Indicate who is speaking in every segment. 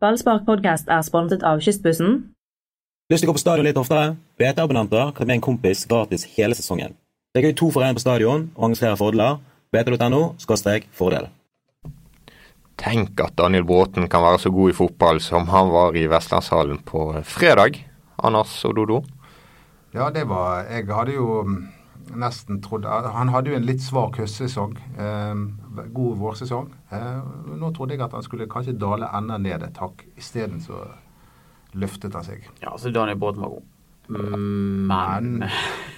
Speaker 1: Ballspark podcast er sponset av Kystbussen.
Speaker 2: Lyst til å gå på stadion litt oftere? BT-abonnenter kan bli en kompis gratis hele sesongen. Det er gøy to for én på stadion og arrangerer fordeler. BT.no skråstrek fordel.
Speaker 3: Tenk at Daniel Bråten kan være så god i fotball som han var i Vestlandshallen på fredag. Anders og Dodo.
Speaker 4: Ja, det var Jeg hadde jo mm, nesten trodd Han hadde jo en litt svak høstsesong. Eh, god vårsesong. Eh, nå trodde jeg at han skulle kanskje dale enda ned et hakk. Isteden så løftet han seg.
Speaker 5: Ja, så Daniel Bråten var god. Men
Speaker 4: Men-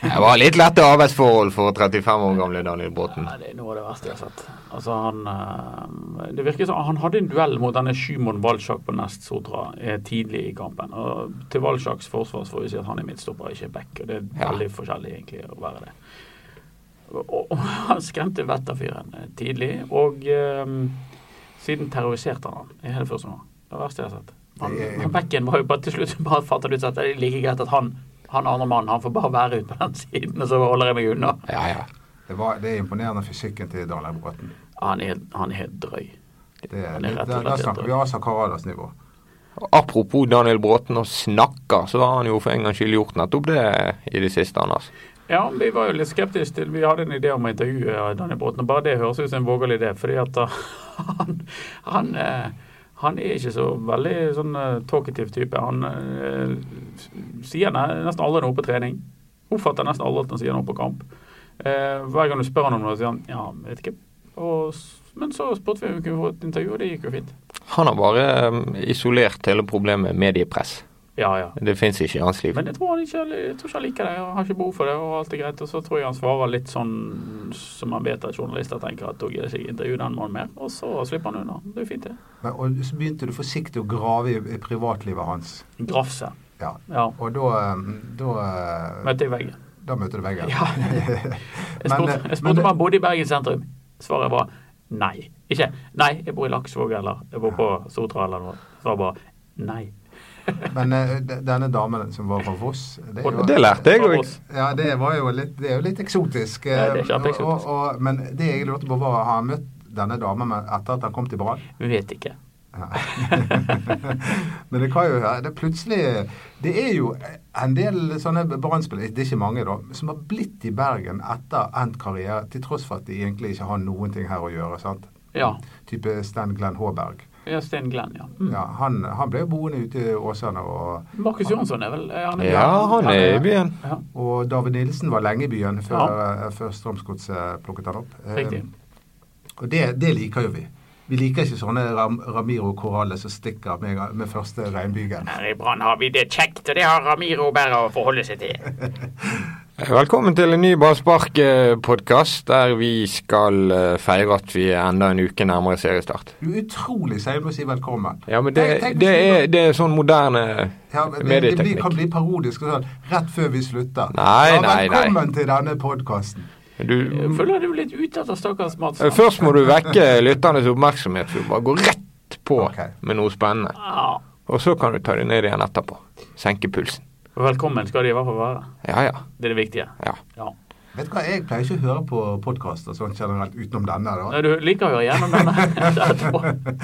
Speaker 3: Det var litt lette arbeidsforhold for 35 år gamle Daniel Bråten.
Speaker 5: Nei, det er noe av det verste jeg har sett. Altså, han eh, Det virker som han hadde en duell mot denne Shimon Valsjak på Nest Sotra eh, tidlig i kampen. Og til Valsjaks forsvar så får vi si at han er midtstopper, ikke back. Og det er
Speaker 3: Ja.
Speaker 5: veldig forskjellig egentlig å være det. Og, og han skremte Vetter-fyren eh, tidlig, og eh, siden terroriserte han han i hele første omgang. Det er det verste jeg har sett. Han,
Speaker 4: Det er-
Speaker 5: han backen var jo bare til slutt bare fattet ut at det er like greit at han han andre mannen, han får bare være ute på den siden, og så holder jeg meg unna.
Speaker 3: Ja, ja.
Speaker 4: Det, var, det er imponerende fysikken til Daniel Bråten.
Speaker 5: Han er, han er helt drøy.
Speaker 4: Det, er-
Speaker 5: Han er rett og
Speaker 4: der,
Speaker 5: slett
Speaker 4: der snakker vi Asa Karadas nivå.
Speaker 3: Apropos Daniel Bråten og snakker, så har han jo for en gangs skyld gjort nettopp det i det siste, Anders.
Speaker 5: Ja, vi var jo litt skeptiske til Vi hadde en idé om å intervjue Daniel Bråten, og bare det høres ut som en vågal idé, fordi at uh, han, han eh, han er ikke så veldig sånn eh, talkative type. Han eh, s- sier ne- nesten aldri noe på trening. Oppfatter nesten aldri at han sier noe på kamp. Eh, hver gang du spør han om noe, sier han ja, vet ikke. Og, s- men så spurte vi om vi kunne få et intervju, og det gikk jo fint.
Speaker 3: Han har bare eh, isolert hele problemet med mediepress.
Speaker 5: Ja, ja.
Speaker 3: Det fins ikke i hans liv.
Speaker 5: Men jeg tror han ikke, jeg tror ikke han liker det. Han har ikke behov for det, og alt er greit. Og så tror jeg han svarer litt sånn som man vet at journalister tenker at da gidder ikke jeg intervjue den mannen mer. Og så slipper han unna. Det er jo fint, det.
Speaker 4: Men, og så begynte du forsiktig å grave i, i privatlivet hans.
Speaker 5: Grafse.
Speaker 4: Ja.
Speaker 5: Ja.
Speaker 4: Og da, eh, da, eh,
Speaker 5: Møtte jeg veggen.
Speaker 4: da møter du veggen.
Speaker 5: Ja. Jeg spurte,
Speaker 4: Men, eh,
Speaker 5: jeg spurte
Speaker 4: men-
Speaker 5: om han bodde i Bergen sentrum. Svaret var nei. Ikke nei, jeg bor i Laksvåg eller jeg bor på Sotra eller noe. Svaret var nei.
Speaker 4: Men eh, de- denne damen som var fra Voss det, er jo-
Speaker 3: Det lærte jeg
Speaker 5: Fra
Speaker 3: jo.
Speaker 5: Voss.
Speaker 4: Ja, det, var jo litt, det er jo litt eksotisk. eh,
Speaker 5: Ja, det er kjempeeksotisk.
Speaker 4: Og, og, men det jeg lurte på, var har han møtt denne damen med- etter at han kom til Brann?
Speaker 5: Vet ikke.
Speaker 4: men det kan jo være- det er plutselig Det er jo en del sånne Brann-spillere, det er ikke mange, da, som har blitt i Bergen etter endt karriere, til tross for at de egentlig ikke har noen ting her å gjøre. sant?
Speaker 5: Ja.
Speaker 4: Type Sten Glenn Håberg.
Speaker 5: ja Sten Glenn, ja. Mm.
Speaker 4: Ja, han, han ble jo boende ute i Åsane og
Speaker 5: Markus Jonsson er vel er han
Speaker 3: Ja, han er i byen.
Speaker 5: Ja.
Speaker 4: Og David Nilsen var lenge i byen før, eh, før Strømsgodset plukket han opp. Eh,
Speaker 5: Riktig.
Speaker 4: Og det, det liker jo vi. Vi liker ikke sånne Ram Ramiro Corrales som stikker med, med første regnbygen.
Speaker 5: Her i Brann har vi det kjekt, og det har Ramiro bare å forholde seg til.
Speaker 3: Velkommen til en ny Ballspark-podkast, der vi skal eh, feire at vi er enda en uke nærmere seriestart.
Speaker 4: Du er utrolig sein med å si velkommen.
Speaker 3: Ja, men
Speaker 4: Tenk-
Speaker 3: det,
Speaker 4: tenk hvis
Speaker 3: det,
Speaker 4: vi-
Speaker 3: er, det er sånn moderne
Speaker 4: ja, men det, det blir, kan
Speaker 3: medieteknikk.
Speaker 4: bli parodisk og sånn rett før vi slutter.
Speaker 3: Nei,
Speaker 4: ja,
Speaker 3: nei, nei.
Speaker 4: velkommen til denne podkasten.
Speaker 3: Du,
Speaker 5: Jeg Eh, føler du litt ute etter stakkars Mats.
Speaker 3: eh, først må du vekke lytternes oppmerksomhet. Du bare går rett på
Speaker 4: Ok.
Speaker 3: med noe spennende.
Speaker 5: Ja.
Speaker 3: Og så kan du ta det ned igjen etterpå. Senke pulsen.
Speaker 5: Velkommen skal de i hvert fall være.
Speaker 3: Ja, ja.
Speaker 5: Det er det viktige.
Speaker 3: ja.
Speaker 5: Ja.
Speaker 4: Vet du hva, jeg pleier ikke å høre på podkaster sånn generelt utenom denne. da.
Speaker 5: Nei, Du liker å høre gjennom denne etterpå.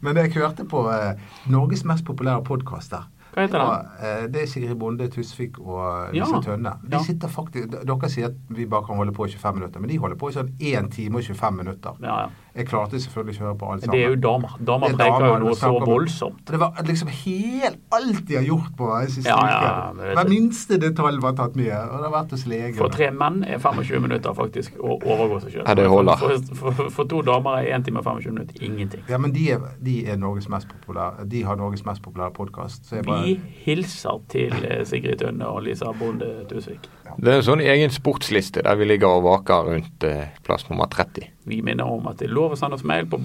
Speaker 4: Men jeg hørte på eh, Norges mest populære podkaster.
Speaker 5: Hva heter den?
Speaker 4: Eh, det er Sigrid Bonde Tusvik og eh,
Speaker 5: Ja.
Speaker 4: Lise Tønne. De
Speaker 5: Ja.
Speaker 4: sitter faktisk, d- Dere sier at vi bare kan holde på i 25 minutter, men de holder på i sånn 1 time og 25 minutter.
Speaker 5: Ja, ja.
Speaker 4: Jeg klarte selvfølgelig ikke å høre på alle sammen.
Speaker 5: Det er jo damer. Damer
Speaker 4: Det er
Speaker 5: preker jo
Speaker 4: damer,
Speaker 5: noe
Speaker 4: og
Speaker 5: så
Speaker 4: snakker om-
Speaker 5: voldsomt.
Speaker 4: Det var liksom helt alt de har gjort på meg siste
Speaker 5: Ja, ja,
Speaker 4: uke.
Speaker 5: men vet
Speaker 4: Hver
Speaker 5: du-
Speaker 4: minste detalj var tatt med. Og det har vært hos legen.
Speaker 5: For tre menn er 25 minutter faktisk å overgå seg sjøl.
Speaker 3: Ja, det holder.
Speaker 5: For, for, for to damer er 1 time og 25 minutter ingenting.
Speaker 4: Ja, men de er, de er Norges mest populære De har Norges mest populære podkast.
Speaker 5: Vi hilser til eh, Sigrid Tønne og Lisa Bonde Tusvik.
Speaker 3: Det er en sånn egen sportsliste der vi ligger og vaker rundt eh, plass nummer 30.
Speaker 5: Vi minner om at det er lov å sende oss mail på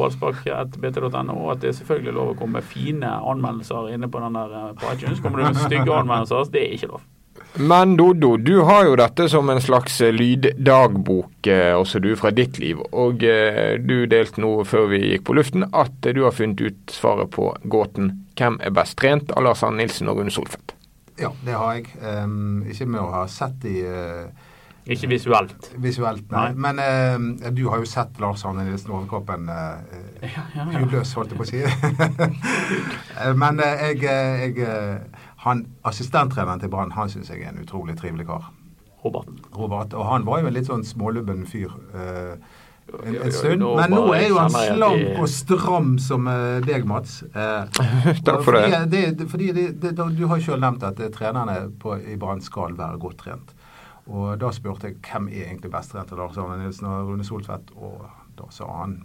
Speaker 5: ballspark.bt.no, og at det er selvfølgelig lov å komme med fine anmeldelser inne på den der eh, på iTunes. Kommer du med stygge anmeldelser, det er ikke lov.
Speaker 3: Men Dodo, du har jo dette som en slags eh, lyddagbok, eh, også du, fra ditt liv. Og eh, du delte nå før vi gikk på luften at eh, du har funnet ut svaret på gåten 'Hvem er best trent?' av Lars Arne Nilsen og Rune Solfedt.
Speaker 4: Ja, det har jeg. Ehm, ikke med å ha sett de eh,
Speaker 5: Ikke visuelt.
Speaker 4: Visuelt, nei. Men eh, du har jo sett Lars Arne Nilsen Overkroppen eh,
Speaker 5: Ja, ja, ja.
Speaker 4: hudløs, holdt jeg på å si. Men eh, jeg, eh, jeg eh, han, Assistenttreneren til Brann han syns jeg er en utrolig trivelig kar.
Speaker 5: Roberten.
Speaker 4: Robert, og han var jo en litt sånn smålubben fyr. eh, en,
Speaker 5: Ja, ja,
Speaker 4: en stund,
Speaker 5: nå
Speaker 4: Men nå
Speaker 5: bare
Speaker 4: er jo han
Speaker 5: kjenner jeg at
Speaker 4: slank
Speaker 5: de-
Speaker 4: og stram som eh, deg, Mats. Eh,
Speaker 3: Takk
Speaker 4: og
Speaker 3: for det.
Speaker 4: fordi- det, det- fordi det, det, da- Du har jo selv nevnt at eh, trenerne på, i Brann skal være godt trent. Og Da spurte jeg hvem er egentlig best trent av Lars Arne Nilsen og Rune Soltvedt. Og da sa han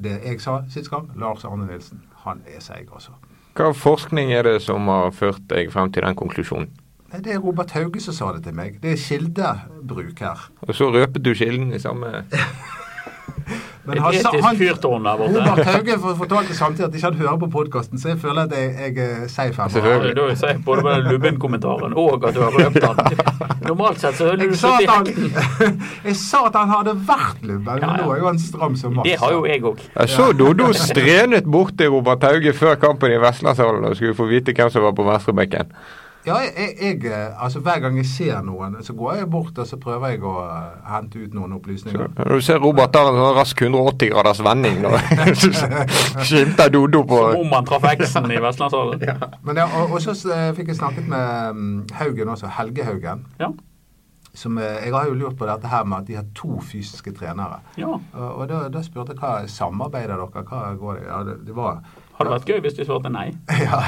Speaker 4: det jeg sa sist gang. Lars Arne Nilsen. Han er seig, altså.
Speaker 3: Hva forskning er det som har ført deg frem til den konklusjonen?
Speaker 4: Nei, Det er Robert Hauge som sa det til meg. Det er kildebruk her.
Speaker 3: Og så røpet du kilden i samme
Speaker 4: Men
Speaker 5: Et
Speaker 4: han sa- han-
Speaker 5: etisk fyrtårn der borte.
Speaker 4: Robert Hauge for- fortalte samtidig at ikke han hører på podkasten, så jeg føler at jeg, jeg eh, er safe her.
Speaker 5: Ja,
Speaker 3: Selvfølgelig.
Speaker 5: det er da jeg sier både med den lubben-kommentaren og at du har røpt den. Normalt sett så hører du
Speaker 4: Jeg
Speaker 5: du
Speaker 4: sa,
Speaker 5: sitter i
Speaker 4: at han,
Speaker 5: hekten.
Speaker 4: jeg sa at han hadde vært lubben, men
Speaker 5: Ja, ja.
Speaker 4: nå er jo han stram som maks.
Speaker 5: Det har jo jeg òg.
Speaker 3: Jeg så Dodo strenet bort til Robert Hauge før kampen i Vestlandshallen og skulle få vite hvem som var på venstrebekken.
Speaker 4: Ja, jeg, jeg, eh, altså Hver gang jeg ser noen, så går jeg bort og så prøver jeg å eh, hente ut noen opplysninger.
Speaker 3: Når du ser Robert der en sånn rask 180 graders vending, nå så skimter Dodo på
Speaker 5: Om han traff eksen i Vestlandshallen.
Speaker 4: Men ja, og, og så eh, fikk jeg snakket med mm, Haugen også, Helge Haugen.
Speaker 5: Ja.
Speaker 4: Som, eh, jeg har jo lurt på dette her med at de har to fysiske trenere.
Speaker 5: ja.
Speaker 4: Og, og da, da spurte jeg hva samarbeider dere? Hva går det? Ja, det, det var
Speaker 5: Hadde vært gøy hvis du svarte nei.
Speaker 4: Ja,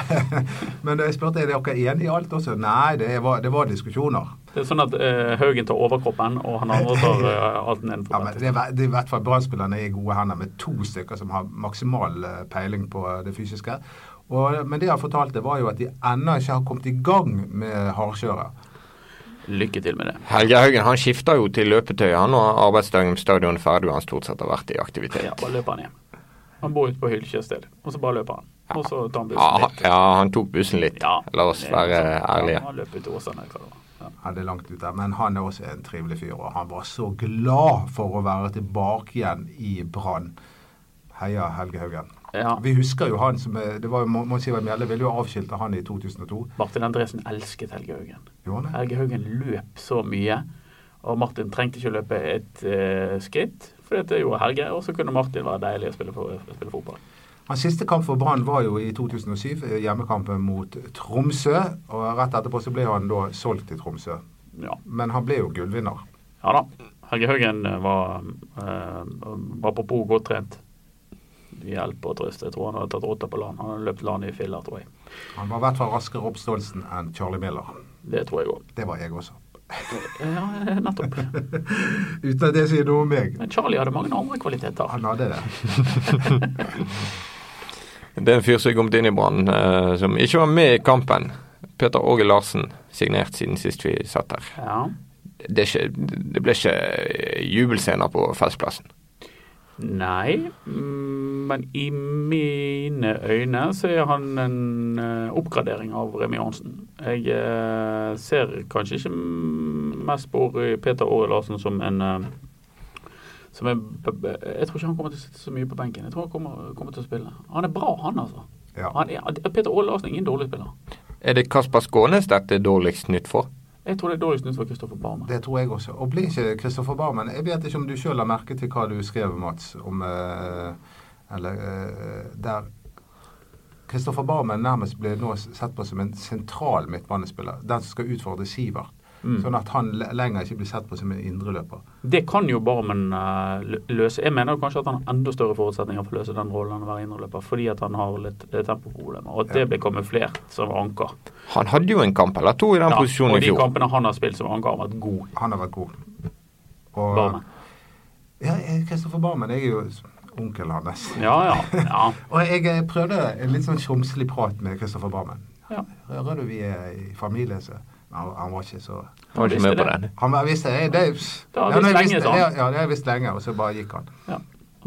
Speaker 4: Men jeg spurte er dere enige i alt også. Nei, det var, det var diskusjoner.
Speaker 5: Det er sånn at eh, Haugen tar overkroppen, og han andre tar eh,
Speaker 4: Ja,
Speaker 5: alt
Speaker 4: men
Speaker 5: nedenfor.
Speaker 4: det, er ve- det er i hvert fall Brann-spillerne er i gode hender med to stykker som har maksimal eh, peiling på det fysiske. Og, men det han fortalte, var jo at de ennå ikke har kommet i gang med hardkjøret.
Speaker 5: Lykke til med det.
Speaker 3: Helge Haugen han skifter jo til løpetøy han og arbeidsdagen på stadion er ferdig og han stort sett har vært i aktivitet.
Speaker 5: Ja, bare løper han hjem. Han bor ute på Hylkje et sted, og så bare løper han. Og så tar han
Speaker 3: Ja,
Speaker 5: bussen
Speaker 3: han-
Speaker 5: litt.
Speaker 3: ja, han tok bussen litt. La oss være ærlige.
Speaker 5: liksom- Han løper til Åsane. hva det var. Ja.
Speaker 4: Ja, det er langt ut der, men han er også en trivelig fyr, og han var så glad for å være tilbake igjen i Brann. Heia Helge Haugen.
Speaker 5: Ja.
Speaker 4: Vi husker jo han som eh, det var jo Mon- Mons Ivar Mjelde ville jo avskilte han i 2002.
Speaker 5: Martin Andresen elsket Helge Haugen.
Speaker 4: Gjorde han det?
Speaker 5: Helge Haugen løp så mye, og Martin trengte ikke å løpe et eh, skritt, for det gjorde Helge, og så kunne Martin være deilig å spille, for, spille fotball.
Speaker 4: Hans siste kamp for Brann var jo i 2007, eh, hjemmekampen mot Tromsø. Og rett etterpå så ble han da solgt til Tromsø.
Speaker 5: Ja,
Speaker 4: Men han ble jo gullvinner.
Speaker 5: ja da. Helge Haugen var, eh, var apropos godt trent. Hjelp og trøst. Jeg tror han hadde tatt rotta på land. Han hadde løpt land i filler, tror jeg.
Speaker 4: Han var i hvert fall raskere opp Stoltsen enn Charlie Miller.
Speaker 5: Det tror jeg òg.
Speaker 4: Det var jeg også.
Speaker 5: Ja, nettopp.
Speaker 4: Uten at det sier noe om meg.
Speaker 5: Men Charlie hadde mange andre kvaliteter.
Speaker 4: Han hadde det.
Speaker 3: Det er en fyr som er kommet inn i Brann, eh, som ikke var med i kampen. Peter Åge Larsen, signert siden sist vi satt her.
Speaker 5: Ja.
Speaker 3: Det, er ikke, det ble ikke eh, jubelscener på Festplassen.
Speaker 5: Nei, mm, men i mine øyne så er han en eh, oppgradering av Remi Johansen. Jeg eh, ser kanskje ikke mm, mest på Ori- Peter Åre Larsen som en eh, som en, b- b- jeg tror ikke han kommer til å sitte så mye på benken. Jeg tror han kommer, kommer til å spille. Han er bra, han altså.
Speaker 4: Ja.
Speaker 5: Han er, Peter Åre Larsen er ingen dårlig spiller.
Speaker 3: Er det Kasper Skånes dette er dårligst nytt for?
Speaker 5: Jeg tror det er dårligst nytt for Kristoffer Barmer.
Speaker 4: Det tror jeg også. Og blir ikke Kristoffer Barmen Jeg vet ikke om du sjøl har merket til hva du skrev, Mats, om eh, Eller eh, der Kristoffer Barmen nærmest ble nå sett på som en sentral midtbanespiller. Den som skal utfordre Sivert.
Speaker 5: Mm.
Speaker 4: Sånn at han le- lenger ikke blir sett på som en indreløper.
Speaker 5: Det kan jo Barmen eh, lø- løse. Jeg mener jo kanskje at han har enda større forutsetninger for å løse den rollen enn å være indreløper, fordi at han har litt eh, tempoproblemer. Og at det ble kamuflert som anker.
Speaker 3: Han hadde jo en kamp eller to i den
Speaker 5: Ja,
Speaker 3: posisjonen
Speaker 5: og
Speaker 3: i
Speaker 5: de
Speaker 3: fjor.
Speaker 5: kampene han har spilt som anker, har vært god.
Speaker 4: Han har vært god. Og,
Speaker 5: Barmen.
Speaker 4: Ja, jeg- Kristoffer Barmen jeg er jo onkelen hans.
Speaker 5: Ja, ja. ja.
Speaker 4: Og jeg eh, prøvde en litt sånn tjomslig prat med Kristoffer Barmen.
Speaker 5: ja.
Speaker 4: Hører du vi er i familie, så Han, han var ikke så
Speaker 3: Han var ikke med på den.
Speaker 4: Han bare visste det. det, det
Speaker 5: Det har han
Speaker 4: ja, nei, jeg
Speaker 5: visst lenge,
Speaker 4: visste-
Speaker 5: sa han.
Speaker 4: ja, ja, det har jeg visst lenge, og så bare gikk han.
Speaker 5: ja.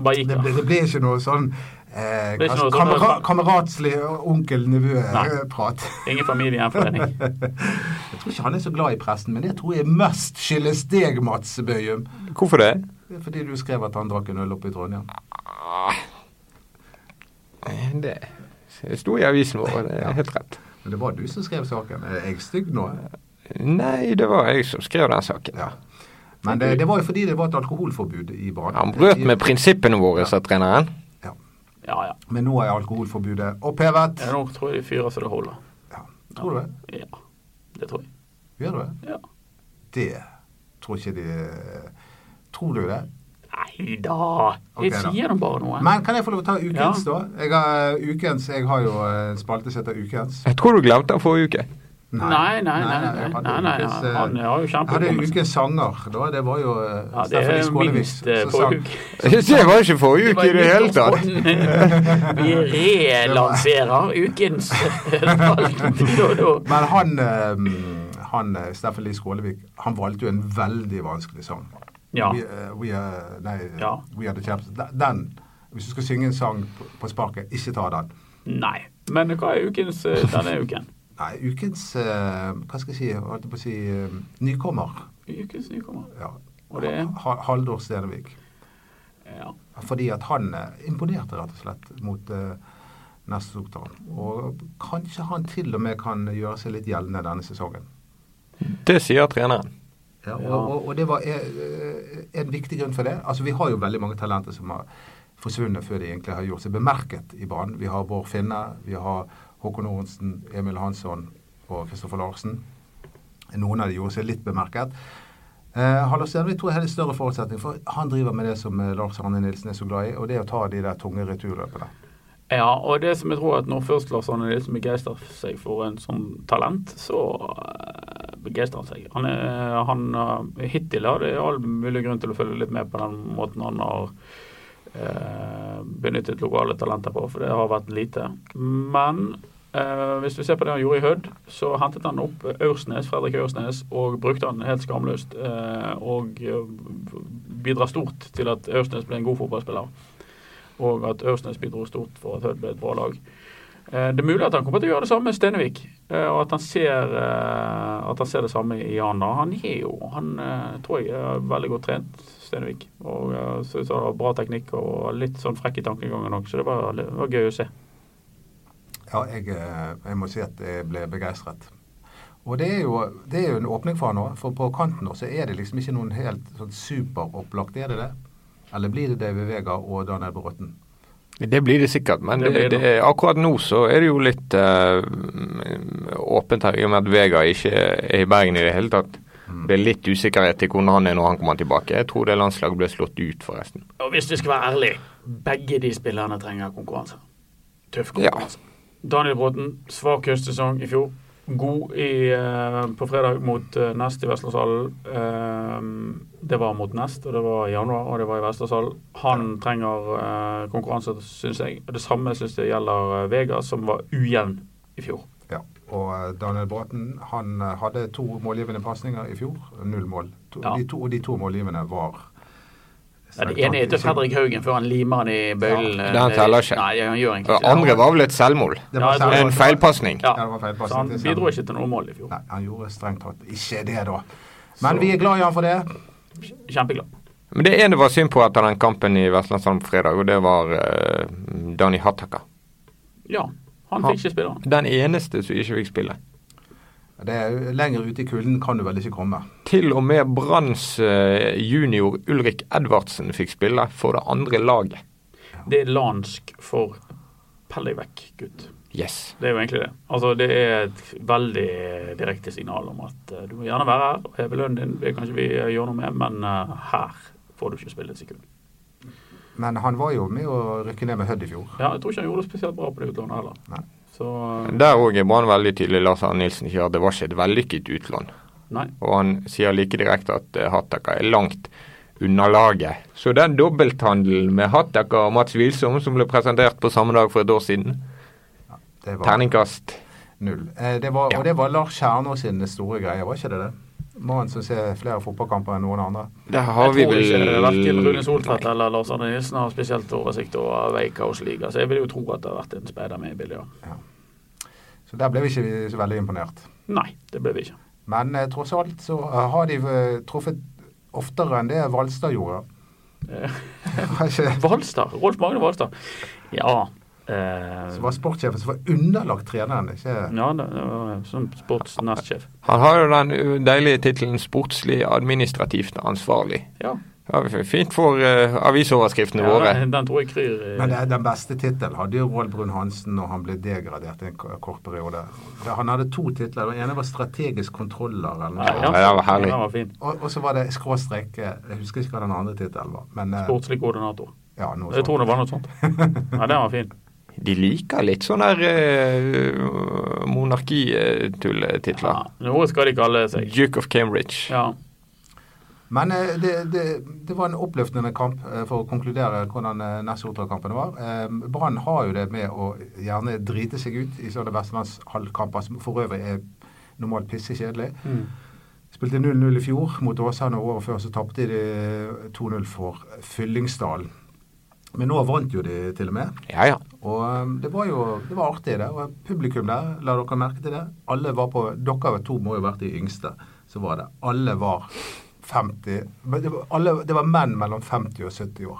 Speaker 5: Bare gikk
Speaker 4: Det ble,
Speaker 5: det.
Speaker 4: det ble ikke noe sånn eh,
Speaker 5: Det er ikke noe sånn-
Speaker 4: kamera, kameratslig
Speaker 5: Nei.
Speaker 4: onkel-nevø-prat.
Speaker 5: Ingen familiegjenforening.
Speaker 4: Jeg tror ikke han er så glad i pressen, men det tror jeg mest skyldes deg, Mats Bøyum.
Speaker 3: Hvorfor det?
Speaker 4: Det er Fordi du skrev at han drakk en øl oppe i Trondheim.
Speaker 3: Det sto i avisen vår, det er helt rett.
Speaker 4: Men det var du som skrev saken. Er jeg stygg nå?
Speaker 3: Nei, det var jeg som skrev den saken.
Speaker 4: Ja. Men det, det var jo fordi det var et alkoholforbud i Brann.
Speaker 3: Han brøt med prinsippene våre, sa treneren.
Speaker 5: Ja, ja.
Speaker 4: Men nå er alkoholforbudet opphevet.
Speaker 5: Ja, Nå tror jeg de fyrer så det holder.
Speaker 4: Tror du det?
Speaker 5: Ja, det tror jeg.
Speaker 4: Gjør du det?
Speaker 5: Ja.
Speaker 4: Det tror ikke de eh, Tror du det?
Speaker 5: Nei da,
Speaker 4: Ok,
Speaker 5: jeg
Speaker 4: da.
Speaker 5: sier nå bare noe.
Speaker 4: Men kan jeg få lov å ta ukens, da? Jeg har, ukens, jeg har jo eh, spalte som heter Ukens.
Speaker 3: Jeg tror du glemte den forrige uke.
Speaker 5: Nei, nei, nei,
Speaker 4: jeg hadde
Speaker 5: nei, nei,
Speaker 4: ukens,
Speaker 5: nei,
Speaker 4: eh,
Speaker 5: han har jo
Speaker 4: Jeg hadde
Speaker 5: kjempehukommelse.
Speaker 4: ukens sanger, da. Det var jo eh,
Speaker 5: Ja, det
Speaker 4: Stephanie
Speaker 5: er
Speaker 4: Skålevik
Speaker 5: minst eh,
Speaker 4: som sang.
Speaker 5: forrige uke.
Speaker 3: Det var ikke forrige uke i det hele tatt.
Speaker 5: tatt. Vi relanserer ukens eh, spalte.
Speaker 4: Men han, eh, han eh, Steffen Lie Skålevik, han valgte jo en veldig vanskelig sang.
Speaker 5: Ja.
Speaker 4: We, eh, we, are- nei,
Speaker 5: Ja.
Speaker 4: we are the champs. Da- Den, hvis du skal synge en sang på, på sparket, ikke ta den.
Speaker 5: Nei. Men hva er ukens eh, denne uken?
Speaker 4: Nei, ukens eh, Hva skal jeg si? Jeg holdt på å si eh, nykommer.
Speaker 5: Ukens nykommer.
Speaker 4: Ja.
Speaker 5: Og det er
Speaker 4: Ha- Haldor Stenevik.
Speaker 5: ja.
Speaker 4: Fordi at han eh, imponerte rett og slett mot eh, neste oktan. Og kanskje han til og med kan gjøre seg litt gjeldende denne sesongen.
Speaker 3: Det sier treneren.
Speaker 4: Ja, og, og, og det var eh, en viktig grunn for det. Altså, Vi har jo veldig mange talenter som har forsvunnet før de egentlig har gjort seg bemerket i banen. Vi har Bård Finne, vi har Håkon Orensen, Emil Hansson og Kristoffer Larsen. Noen av de gjorde seg litt bemerket. Eh, Hallo Stenvik tror jeg har litt større forutsetning, for han driver med det som eh, Lars Arne Nilsen er så glad i, og det er å ta de der tunge returløpene.
Speaker 5: Ja, og det som jeg tror at når først Lars Arne Nilsen begeistrer seg for en sånn talent, så eh, begeistrer han seg. Han, er, han eh, hittil har det all mulig grunn til å følge litt med på den måten han har eh, benyttet lokale talenter på, for det har vært lite. Men eh, hvis du ser på det han gjorde i Hødd, så hentet han opp Aursnes, Fredrik Aursnes og brukte han helt skamløst. eh, og eh, bidrar stort til at Aursnes ble en god fotballspiller og at Ørsnes bidro stort for at Hødd ble et bra lag. Eh, Det er mulig at han kommer til å gjøre det samme med Stenevik, eh, og at han ser, eh, at han ser det samme i han. da. Han er jo, han eh, tror jeg er veldig godt trent, Stenevik. Og eh, så ut som han har bra teknikk og litt sånn frekk i tankegangen òg, så det var, det var gøy å se.
Speaker 4: Ja, jeg, eh, jeg må si at jeg ble begeistret. Og det er, jo, det er jo en åpning for han nå, for på kanten nå så er det liksom ikke noen helt sånn superopplagt, er det det? Eller blir det David Vega og Daniel Bråten?
Speaker 3: Det blir det sikkert, men
Speaker 5: Det
Speaker 3: det
Speaker 5: blir det.
Speaker 3: det- akkurat nå så er det jo litt eh, åpent her, i og med at Vega ikke er i Bergen i det hele tatt. Det er litt usikkerhet til hvordan han er når han kommer tilbake. Jeg tror det landslaget ble slått ut, forresten.
Speaker 5: Og hvis vi skal være ærlige, begge de spillerne trenger konkurranse. Tøff
Speaker 3: konkurranse.
Speaker 5: konkurranse. Daniel Bråten, svak høstsesong i fjor. God i, eh, på fredag mot eh, Nest i Vestlandshallen. Eh, det var mot Nest, og det var i januar, og det var i Vestlandshallen. Han trenger eh, konkurranse, syns jeg. Og Det samme syns jeg gjelder eh, Vega, som var ujevn i fjor.
Speaker 4: Ja. Og eh, Daniel Bråten, han eh, hadde to målgivende pasninger i fjor, null mål. To,
Speaker 5: Ja.
Speaker 4: de to, og de to målgivende var
Speaker 5: Ja, det ene heter Fredrik Haugen før han limer han i bøylen. eh,
Speaker 3: Ja, det han teller ikke.
Speaker 5: Nei, han gjør egentlig
Speaker 3: Det
Speaker 5: ikke
Speaker 3: andre var vel et selvmål.
Speaker 4: Det var
Speaker 5: Ja, jeg tror-
Speaker 4: selvmål.
Speaker 3: En feilpasning.
Speaker 5: Ja,
Speaker 4: Ja, det var feil pass.
Speaker 5: så han bidro ikke til noe mål i fjor.
Speaker 4: Nei, han gjorde strengt tatt ikke det, da. Men
Speaker 5: Så-
Speaker 4: vi er glad i han for det.
Speaker 5: Kjempeglad.
Speaker 3: Men det ene var synd på etter den kampen i Vestlandshallen på fredag, og det var eh, Dani Hattaka.
Speaker 5: Ja, han
Speaker 3: Han-
Speaker 5: fikk ikke spille. han.
Speaker 3: Den eneste som ikke fikk spille.
Speaker 4: det er, lenger ute i kulden kan du vel ikke komme.
Speaker 3: Til og med Branns eh, junior Ulrik Edvardsen fikk spille for det andre laget.
Speaker 5: Det er lansk for Pell deg vekk, gutt.
Speaker 3: Yes.
Speaker 5: Det er jo egentlig det. Altså, det er et veldig direkte signal om at eh, du må gjerne være her og heve lønnen din. Det kan ikke vi eh, gjøre noe med, men eh, her får du ikke spille et sekund.
Speaker 4: Men han var jo med å rykke ned med Hødd i fjor.
Speaker 5: Ja, jeg tror ikke han gjorde det spesielt bra på det utlånet heller.
Speaker 4: Nei.
Speaker 5: Så eh,
Speaker 3: Der òg er Brann veldig tydelig. Lars Arne Nilsen sier at det var ikke et vellykket utlån.
Speaker 5: nei.
Speaker 3: Og han sier like direkte at eh, Hattaka er langt unna laget. Så den dobbelthandelen med Hattaka og Mats Wilsom som ble presentert på samme dag for et år siden,
Speaker 4: Det var
Speaker 3: terningkast
Speaker 4: null. Eh, det var,
Speaker 3: Ja.
Speaker 4: Og det var Lars Kjernås sin store greie, var ikke det det? Mannen som ser flere fotballkamper enn noen andre.
Speaker 3: Der har vi
Speaker 5: jeg tror
Speaker 3: vel
Speaker 5: ikke verken Rune Soltvedt eller Lars Arne Nilsen har spesielt oversikt over Veikkaus liga, så jeg vil jo tro at det har vært en speider med i bildet, ja.
Speaker 4: Så der ble vi ikke så veldig imponert.
Speaker 5: Nei, det ble vi ikke.
Speaker 4: Men eh, tross alt så eh, har de eh, truffet oftere enn det Valstad gjorde.
Speaker 5: Eh,
Speaker 4: Har ikke-
Speaker 5: Valstad. Rolf Magne Valstad. Ja. eh,
Speaker 4: Som var sportssjefen som var underlagt treneren. ikke?
Speaker 5: Ja, det var som sportsnestsjef.
Speaker 3: Han har jo den uh, deilige tittelen 'sportslig administrativt ansvarlig'.
Speaker 5: Ja.
Speaker 3: Ja, vi får Fint for uh, avisoverskriftene
Speaker 5: ja
Speaker 3: våre.
Speaker 5: den, den tror jeg kryr. eh,
Speaker 4: Men det, den beste tittelen hadde jo Roald Brun Hansen når han ble degradert i en k- kort periode. Det- Han hadde to titler. Den ene var strategisk kontroller. eller noe.
Speaker 5: Nei,
Speaker 3: Ja, det var herlig.
Speaker 5: Den var fin.
Speaker 4: Og, og så var det skråstrek eh, Jeg husker ikke hva den andre tittelen var. Men, eh,
Speaker 5: Sportslig koordinator.
Speaker 4: ja, noe
Speaker 5: Jeg tror
Speaker 4: sånt.
Speaker 5: det var noe sånt. Ja, den var fin.
Speaker 3: De liker litt sånn eh, sånne uh, monarkitulletitler.
Speaker 5: Ja, noe skal de kalle seg.
Speaker 3: Duke of Cambridge.
Speaker 5: Ja.
Speaker 4: Men eh, det, det, det var en oppløftende kamp, eh, for å konkludere hvordan eh, Nessotra-kampen var. Eh, Brann har jo det med å gjerne drite seg ut i sånne vestlandshallkamper, som for øvrig er normalt pissekjedelig.
Speaker 5: Mm.
Speaker 4: Spilte 0-0 i fjor mot Åsane, og året før så tapte de 2-0 for Fyllingsdalen. Men nå vant jo de til og med.
Speaker 3: Ja, ja.
Speaker 4: Og eh, det var jo det var artig, det. Og publikum der, la dere merke til det. Alle var på Dere to må jo ha vært de yngste. Så var det. Alle var 50 men det var, alle, det var menn mellom 50 og 70 år.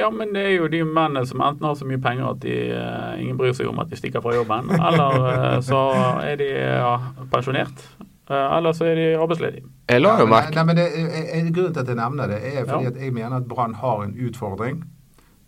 Speaker 5: ja, men det er jo de mennene som enten har så mye penger at de, eh, ingen bryr seg om at de stikker fra jobben, eller eh, så er de ja, pensjonert, eh, eller så er de arbeidsledige.
Speaker 3: Jeg la jo
Speaker 4: men, eh,
Speaker 3: merke
Speaker 4: nei, men det, er- er- Grunnen til at jeg nevner det, er fordi
Speaker 5: Ja.
Speaker 4: at jeg mener at Brann har en utfordring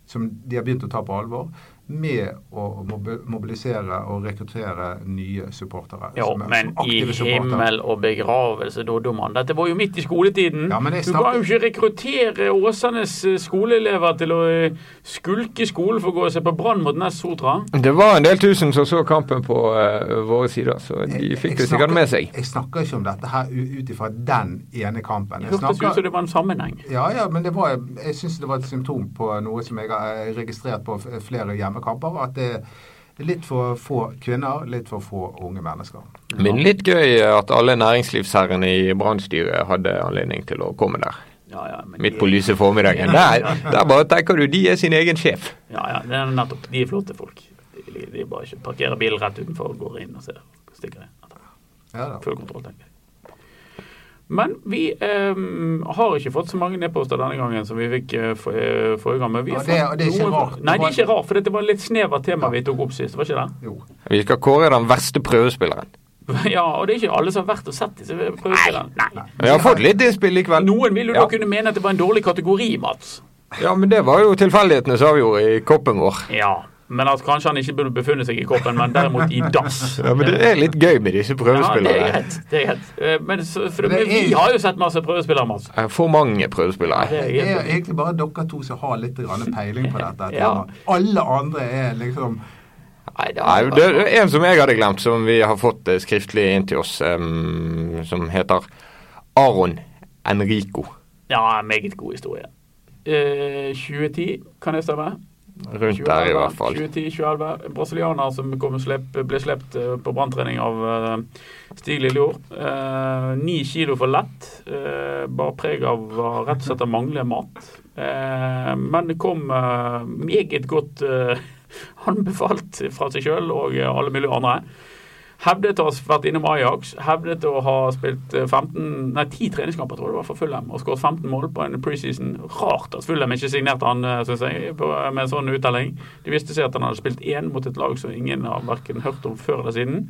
Speaker 4: som de har begynt å ta på alvor. Med å mobi- mobilisere og rekruttere nye supportere.
Speaker 5: Ja,
Speaker 4: som er-
Speaker 5: men
Speaker 4: som
Speaker 5: i
Speaker 4: aktive supportere.
Speaker 5: himmel og begravelse, Doddo mann. Dette var jo midt i skoletiden.
Speaker 4: Ja, men jeg
Speaker 5: Du kan jo
Speaker 4: snakket-
Speaker 5: ikke rekruttere Åsanes eh, skoleelever til å eh, skulke skolen for å gå og se på Brann mot Ness Sotra.
Speaker 3: Det var en del tusen som så kampen på eh, våre sider, så de
Speaker 4: Eh, Jeg-
Speaker 3: fikk
Speaker 4: jeg
Speaker 3: det sikkert
Speaker 4: snakker-
Speaker 3: med seg.
Speaker 4: Jeg snakker ikke om dette her u- ut ifra den ene kampen.
Speaker 5: Det
Speaker 4: Jeg
Speaker 5: hørtes ut som
Speaker 4: snakker,
Speaker 5: det var en sammenheng.
Speaker 4: ja, ja, men det var, jeg syns det var et symptom på noe som jeg har eh, registrert på f- flere hjemmekamper. At det er litt for få kvinner, litt for få unge mennesker.
Speaker 3: Men litt gøy at alle næringslivsherrene i Brannstyret hadde anledning til å komme der.
Speaker 5: Ja, ja, men
Speaker 3: Midt
Speaker 5: de-
Speaker 3: på lyse formiddagen. Der, der bare tenker du de er sin egen sjef.
Speaker 5: Ja, ja, det er nettopp. De er flotte folk. De, de bare ikke parkerer bilen rett utenfor og går inn og ser. og Stikker inn. etterpå.
Speaker 4: Ja, da.
Speaker 5: Full kontroll, tenker jeg. Men vi ehm, har ikke fått så mange nedposter denne gangen som vi fikk eh, for, eh, forrige gang. Men vi
Speaker 4: Ja,
Speaker 5: har
Speaker 4: det er-
Speaker 5: fått
Speaker 4: det er ikke
Speaker 5: noen-
Speaker 4: rart. Det
Speaker 5: Nei, det
Speaker 4: var-
Speaker 5: er ikke rart, for dette var et litt snevert tema vi tok opp sist, var ikke det?
Speaker 4: Jo.
Speaker 3: Vi skal kåre den verste prøvespilleren.
Speaker 5: Ja, og det er ikke alle som har vært og sett disse prøvespillene.
Speaker 3: Vi har fått litt innspill i kveld.
Speaker 5: Noen vil jo
Speaker 3: Ja.
Speaker 5: da kunne mene at det var en dårlig kategori, Mats.
Speaker 3: Ja, men det var jo tilfeldighetene som avgjorde i koppen vår.
Speaker 5: Ja, men at kanskje han ikke burde befunnet seg i koppen, men derimot i dass.
Speaker 3: Ja, Men det er litt gøy med disse
Speaker 5: Ja, det er
Speaker 3: prøvespillerne.
Speaker 5: greit. Det er greit. Eh, Men, så, for,
Speaker 4: Men det
Speaker 5: men vi
Speaker 4: er-
Speaker 5: har jo sett masse prøvespillere, Mats.
Speaker 3: Eh, For mange prøvespillere.
Speaker 5: Det er
Speaker 4: Det er
Speaker 5: greit.
Speaker 4: egentlig bare dere to som har litt grann peiling på dette.
Speaker 5: Ja.
Speaker 4: temaet. Alle andre er liksom
Speaker 5: Nei, det
Speaker 3: Nei,
Speaker 5: er-
Speaker 3: det er en som jeg hadde glemt, som vi har fått eh, skriftlig inn til oss, em, som heter Aron Enrico.
Speaker 5: Ja, en meget god historie. Eh, 2010, kan jeg stemme?
Speaker 3: Rundt der, i hvert fall.
Speaker 5: 2010-2011. En brasilianer som kom og slepp, ble slept eh, på branntrening av eh, Stig Lillejord. Eh, Ni kilo for lett. Eh, bar preg av å rett og slett å mangle mat. Eh, men det kom eh, meget godt eh, anbefalt fra seg sjøl og eh, alle mulige andre. Hevdet å ha vært innom Ajax, hevdet å ha spilt eh, 15, nei, 10 treningskamper tror jeg det var for Fulham og skåret 15 mål på en preseason. Rart at Fulham ikke signerte han, eh, synes jeg, på, med en sånn uttelling. De visste seg at han hadde spilt én mot et lag som ingen har hverken hørt om før eller siden.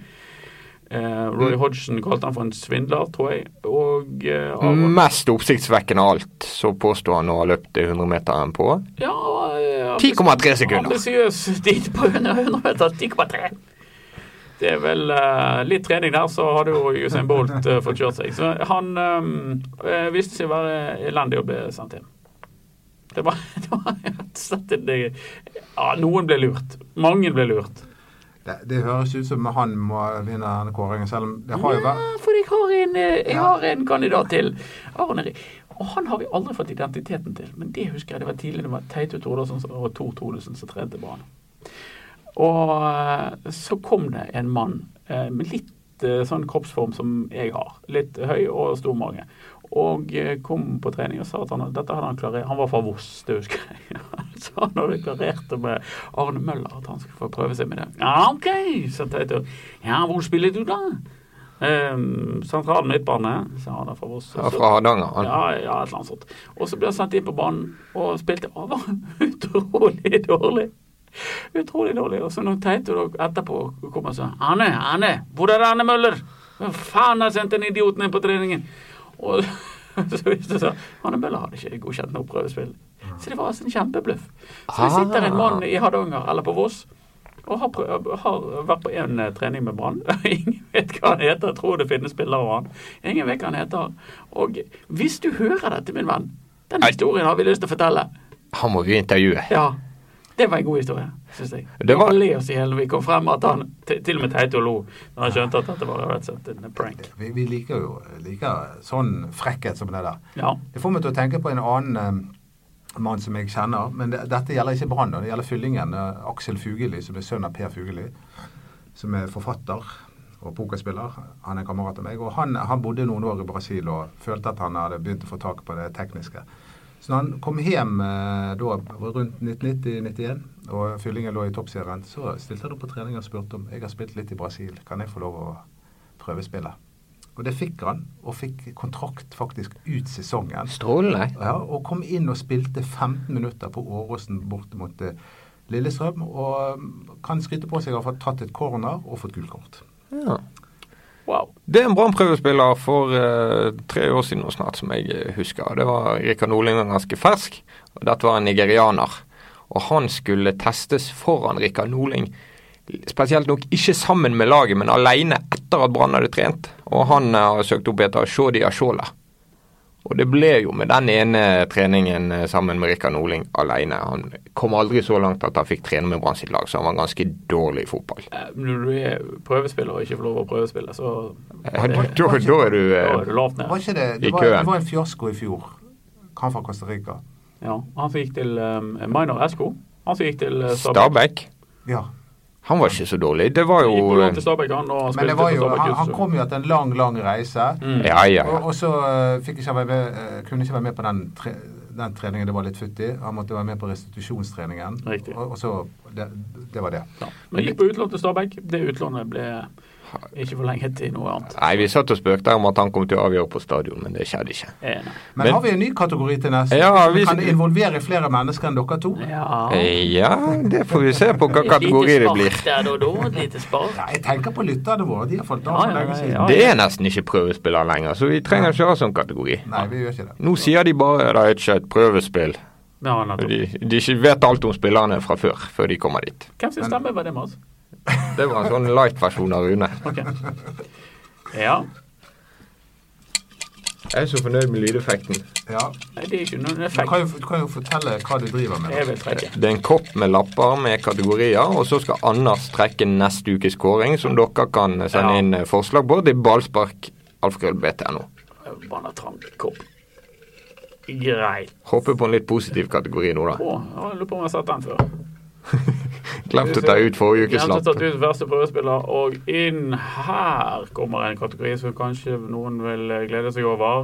Speaker 5: Eh, Roy Hodgson kalte han for en svindler, tror jeg. Og eh, Aron-
Speaker 3: Mest oppsiktsvekkende av alt, så påstår han å ha løpt det 100-meteren på
Speaker 5: ja, eh,
Speaker 3: 10,3 sekunder.
Speaker 5: Ambisiøs tid på 100 100 meter, 10,3. Det er vel eh, litt trening der, så hadde jo Usain Bolt eh, fått kjørt seg. Så han eh, eh, viste seg å være elendig og ble sendt hjem. Det var, det var rett og slett en eh, Ja, noen ble lurt. Mange ble lurt.
Speaker 4: det, det høres ut som han må vinne denne kåringen, selv om det har jo
Speaker 5: Ja,
Speaker 4: vært
Speaker 5: for jeg har en, eh, jeg har en kandidat til. Arne Ri- Og han har vi aldri fått identiteten til, men det husker jeg det var tidlig. Det var Teito Tordalsen som- og Tor Thodesen som trente Brann. Og eh, så kom det en mann eh, med litt eh, sånn kroppsform som jeg har. Litt høy og stor mage. Og eh, kom på trening og sa at han, dette hadde han klarert. Han var fra Voss, det husker jeg. Så han hadde klarert det med Arne Møller at han skulle få prøve seg med det. Ja, OK, sa Teito. Ja, hvor spiller du da? Um, sentral midtbane, sa han da fra Voss.
Speaker 3: Ja, fra Hardanger. Han.
Speaker 5: Ja, ja, et eller annet sånt. Og så ble han sendt inn på banen og spilte av utrolig dårlig. Utrolig dårlig. Og så noe teit, og da etterpå kommer sånn Anne, Anne, hvor er Anne Møller? Hvem faen har sendt den idioten ned på treningen? Og så viste det seg Anne Møller hadde ikke godkjent noe prøvespill. Så det var altså en kjempebløff. Så det sitter en mann i Hardanger eller på Voss og har, prøv, har vært på én trening med Brann. Ingen vet hva han heter. Jeg tror det finnes bilder av han. Ingen vet hva han heter. Og hvis du hører dette, min venn, den
Speaker 3: Nei.
Speaker 5: historien har vi lyst til å fortelle.
Speaker 3: Han må vi intervjue.
Speaker 5: Ja. Det var en god historie, syns jeg.
Speaker 3: Det
Speaker 5: Det
Speaker 3: var-
Speaker 5: var le oss i hjel. Vi kom frem at han til, til og med Teito lo når han skjønte at dette var rett og slett en prank.
Speaker 4: Vi, vi liker jo liker sånn frekkhet som det der.
Speaker 5: Ja.
Speaker 4: Det får meg til å tenke på en annen eh, mann som jeg kjenner. Men det, dette gjelder ikke Brann, da. det gjelder fyllingen. eh, Aksel Fugelli, som er sønn av Per Fugelli. Som er forfatter og pokerspiller. Han er en kamerat av meg. Og han, han bodde noen år i Brasil og følte at han hadde begynt å få tak på det tekniske. Så når han kom hjem eh, da rundt 1990-91, og fyllingen lå i toppserien, så stilte han opp på trening og spurte om jeg har spilt litt i Brasil, kan jeg få lov å prøvespille? Og det fikk han, og fikk kontrakt faktisk ut sesongen.
Speaker 3: Strålende.
Speaker 4: Ja, og kom inn og spilte 15 minutter på Åråsen borte mot eh, Lillestrøm. Og mm, kan skryte på seg å ha fått tatt et corner og fått gult kort.
Speaker 3: Ja.
Speaker 5: Wow.
Speaker 3: Det er en Brann-prøvespiller for eh, tre år siden nå snart, som jeg eh, husker. Det var Rikard Nordling var ganske fersk, og dette var en nigerianer. Og han skulle testes foran Rikard Nordling, spesielt nok ikke sammen med laget, men alene etter at Brann hadde trent. Og han eh, har søkt opp etter Shodi Ashola. Og det ble jo med den ene treningen eh, sammen med Rikard Nordling alene. Han kom aldri så langt at han fikk trene med Brann sitt lag, så han var ganske dårlig i fotball.
Speaker 5: Eh, Når du er prøvespiller og ikke får lov å prøvespille, så
Speaker 3: Eh, Da, da, da er du
Speaker 5: da
Speaker 3: eh,
Speaker 5: er du lavt
Speaker 4: Var
Speaker 5: nede.
Speaker 4: ikke det,
Speaker 3: I
Speaker 4: det, var,
Speaker 3: køen.
Speaker 4: det var en fiasko i fjor. Han fra Costa Rica.
Speaker 5: Ja. Han som gikk til um, Minor Esko. Han som gikk til eh,
Speaker 3: Stabæk.
Speaker 5: Stabæk.
Speaker 4: Ja.
Speaker 3: Han var ikke så dårlig. Det var
Speaker 5: Han Gikk jo
Speaker 3: jo eh,
Speaker 5: lånt til Stabæk, han, og
Speaker 4: Men
Speaker 5: spilte
Speaker 4: det var
Speaker 5: for
Speaker 4: jo,
Speaker 5: Stabæk.
Speaker 4: han,
Speaker 5: ut
Speaker 4: han kom jo etter en lang, lang reise.
Speaker 3: Mm. Ja, ja, ja.
Speaker 4: Og, og så eh, fikk ikke han være med, eh, kunne ikke være med på den, tre, den treningen. Det var litt futtig. Han måtte være med på restitusjonstreningen.
Speaker 5: Riktig.
Speaker 4: Og, og så Det, det var det.
Speaker 5: Ja. Men gikk på utlån til Stabæk. Det utlånet ble ikke forlenget til noe annet.
Speaker 3: Nei, vi satt og spøkte om at han kom til å avgjøre på stadion, men det skjedde ikke.
Speaker 5: Eh, nei.
Speaker 4: Men,
Speaker 3: Men-
Speaker 4: har vi en ny kategori til neste?
Speaker 3: Ja, vi-
Speaker 4: vi kan involvere flere mennesker enn dere to?
Speaker 5: Ja.
Speaker 3: Eh, Ja, det får vi se på hvilken kategori det blir.
Speaker 5: Et lite spark der og da, et lite spark.
Speaker 4: Nei, jeg tenker på lytterne våre. De har falt av
Speaker 5: Ja,
Speaker 4: for
Speaker 5: ja,
Speaker 4: lenge
Speaker 5: ja,
Speaker 4: siden.
Speaker 5: ja.
Speaker 3: Det er nesten ikke prøvespiller lenger, så vi trenger ikke ha sånn kategori.
Speaker 4: Nei, vi gjør ikke det.
Speaker 3: Nå sier de bare at det er ikke et prøvespill.
Speaker 5: Ja, nettopp.
Speaker 3: De, de ikke vet alt om spillerne fra før, før de kommer dit.
Speaker 5: Hvem sin stemme var det, Mats?
Speaker 3: Det var en sånn light-versjon av Rune.
Speaker 5: Ok. Ja,
Speaker 3: Jeg er så fornøyd med lydeffekten.
Speaker 4: Ja.
Speaker 5: nei, det er ikke noen
Speaker 4: Du, kan
Speaker 5: effekt.
Speaker 4: jo, du kan jo fortelle hva du driver med.
Speaker 5: Jeg vil trekke.
Speaker 3: Det er en kopp med lapper med kategorier, og så skal Anders trekke neste ukes kåring, som dere kan sende
Speaker 5: Ja.
Speaker 3: inn eh, forslag på. Det er ballspark alfgrøllbt.no.
Speaker 5: Banna trang kopp. Greit.
Speaker 3: Håper på en litt positiv kategori nå, da.
Speaker 5: Å, ja, jeg lurer på om jeg har sett den før.
Speaker 3: Glemte å ta ut forrige ukes
Speaker 5: Glemte å
Speaker 3: lapp.
Speaker 5: ta ut verste prøvespiller, og inn her kommer en kategori som kanskje noen vil glede seg over.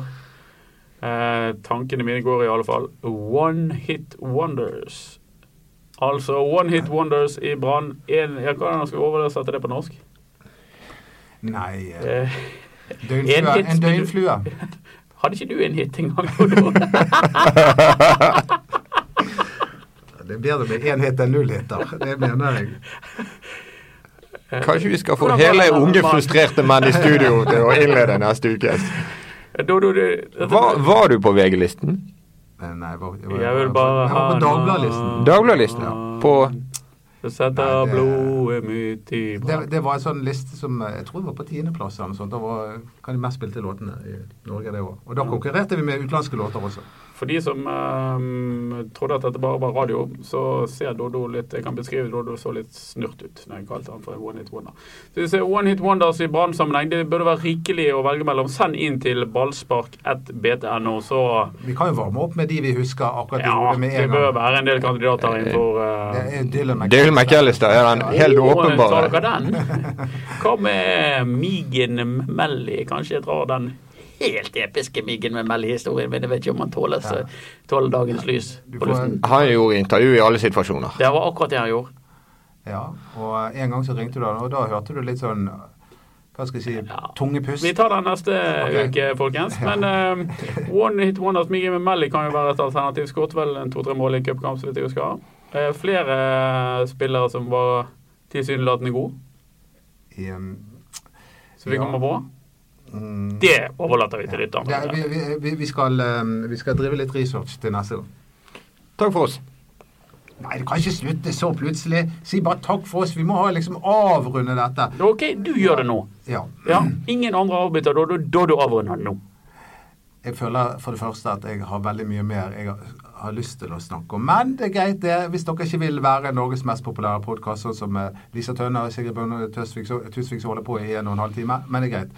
Speaker 5: Eh, tankene mine går i alle fall One Hit Wonders. Altså One Hit Wonders i Brann. En- Jeg kan skal oversette det på norsk.
Speaker 4: Nei eh,
Speaker 5: Eh,
Speaker 4: døgnflue.
Speaker 5: en hit-
Speaker 4: En døgnflue.
Speaker 5: hadde ikke du en hit en gang? Odo?
Speaker 4: Det er bedre med én hit enn null hiter. Det mener jeg.
Speaker 3: Kanskje vi skal få
Speaker 5: Hvordan var
Speaker 3: hele
Speaker 5: det?
Speaker 3: unge, frustrerte menn i studio til å innlede neste uke.
Speaker 5: Dodo, du- dette-
Speaker 3: Var, var du på VG-listen?
Speaker 4: Eh, Nei, jeg var, jeg
Speaker 5: Jeg vil bare
Speaker 4: jeg var
Speaker 5: ha eh,
Speaker 4: på Dagbladlisten.
Speaker 3: Dagbladlisten, ja. På
Speaker 5: Du setter
Speaker 4: Nei, det-
Speaker 5: blodet mitt i
Speaker 4: Det,
Speaker 5: brann.
Speaker 4: det var en sånn liste som eh, jeg tror var på tiendeplass. eller noe sånt. Da var hva de mest spilte låtene i Norge det året. Og da konkurrerte vi med utenlandske låter også.
Speaker 5: For de som ehm, trodde at dette bare var radio, så ser Dodo litt Jeg kan beskrive Dodo så litt snurt ut når jeg kalte han for en One Hit Wonder. Så vi ser One Hit Wonders i Brann-sammenheng. Det burde være rikelig å velge mellom. Send inn til ballspark1btno, så
Speaker 4: Vi kan jo varme opp med de vi husker akkurat i
Speaker 5: Ja,
Speaker 4: hodet med
Speaker 5: det
Speaker 4: en
Speaker 5: bør
Speaker 4: gang.
Speaker 5: være en del kandidater innenfor
Speaker 4: Det
Speaker 5: eh,
Speaker 4: er Dylan
Speaker 3: Dale McAllister er den helt
Speaker 5: Å, Tar
Speaker 3: åpenbare.
Speaker 5: dere den? Hva med Migen Melly? Kanskje jeg drar den helt episke Migen Melly-historien, men jeg vet ikke om han tåler, så- tåler dagens lys
Speaker 4: Du
Speaker 5: på
Speaker 4: får-
Speaker 5: luften.
Speaker 3: Han gjorde intervju i alle situasjoner.
Speaker 5: Det var akkurat det han gjorde.
Speaker 4: Ja, og en gang så ringte du han, og da hørte du litt sånn Hva skal jeg si Tungepust.
Speaker 5: Vi tar den neste
Speaker 4: Ok.
Speaker 5: uke, folkens. Men ehm, eh, One Hit Wonders Migen Melly kan jo være et alternativ. Skåret vel en to-tre mål i en cupkamp, så vidt jeg husker. Eh, flere eh, spillere som var tilsynelatende gode,
Speaker 4: I, um,
Speaker 5: som vi
Speaker 4: Ja.
Speaker 5: kommer på.
Speaker 4: mm,
Speaker 5: Det overlater vi til
Speaker 4: ja,
Speaker 5: lytterne.
Speaker 4: vi, vi, vi- vi, skal, um, vi skal drive litt research til neste gang.
Speaker 3: Takk for oss.
Speaker 4: Nei, det kan ikke slutte så plutselig. Si bare takk for oss. Vi må ha liksom avrunde dette.
Speaker 5: OK, du gjør det nå.
Speaker 4: Ja.
Speaker 5: Ja, Ingen andre avbryter da, da, da du avrunder nå.
Speaker 4: Jeg føler for det første at jeg har veldig mye mer jeg har- har lyst til å snakke om. Men det er greit, det. Hvis dere ikke vil være Norges mest populære podkast, sånn som eh, Lisa Tønne og Sigrid Bønne Tusvik så Tusvik som holder på i en og en halv time, men det er greit.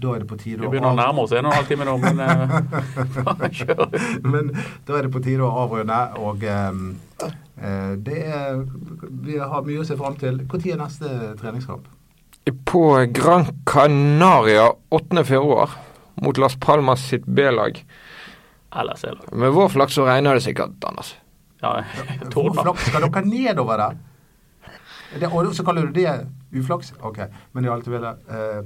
Speaker 4: Da er det på tide
Speaker 5: Vi
Speaker 4: å
Speaker 5: begynner å
Speaker 4: av-
Speaker 5: nærme oss en og en halv time nå, men eh, bare kjør.
Speaker 4: Men da er det på tide å avrunde, og ehm, eh, det er Vi har mye å se fram til. Når er neste treningskamp?
Speaker 3: På Gran Canaria 8. februar mot Las Palmas sitt B-lag.
Speaker 5: Eller c
Speaker 3: Med vår flaks så regner det sikkert, Anders.
Speaker 5: Ja,
Speaker 4: Hvor
Speaker 5: tordner.
Speaker 4: flaks skal dere nedover der? Det, og så kaller du det uflaks? Ok, men jeg har alltid ville eh,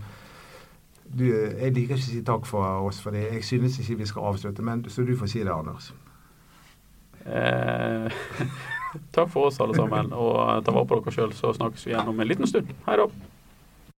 Speaker 4: du, Jeg liker ikke å si takk for oss, for jeg synes ikke vi skal avslutte, men så du får si det, Anders.
Speaker 5: Eh, takk for oss, alle sammen. Og ta vare på dere sjøl, så snakkes vi igjen om en liten stund. Hei da.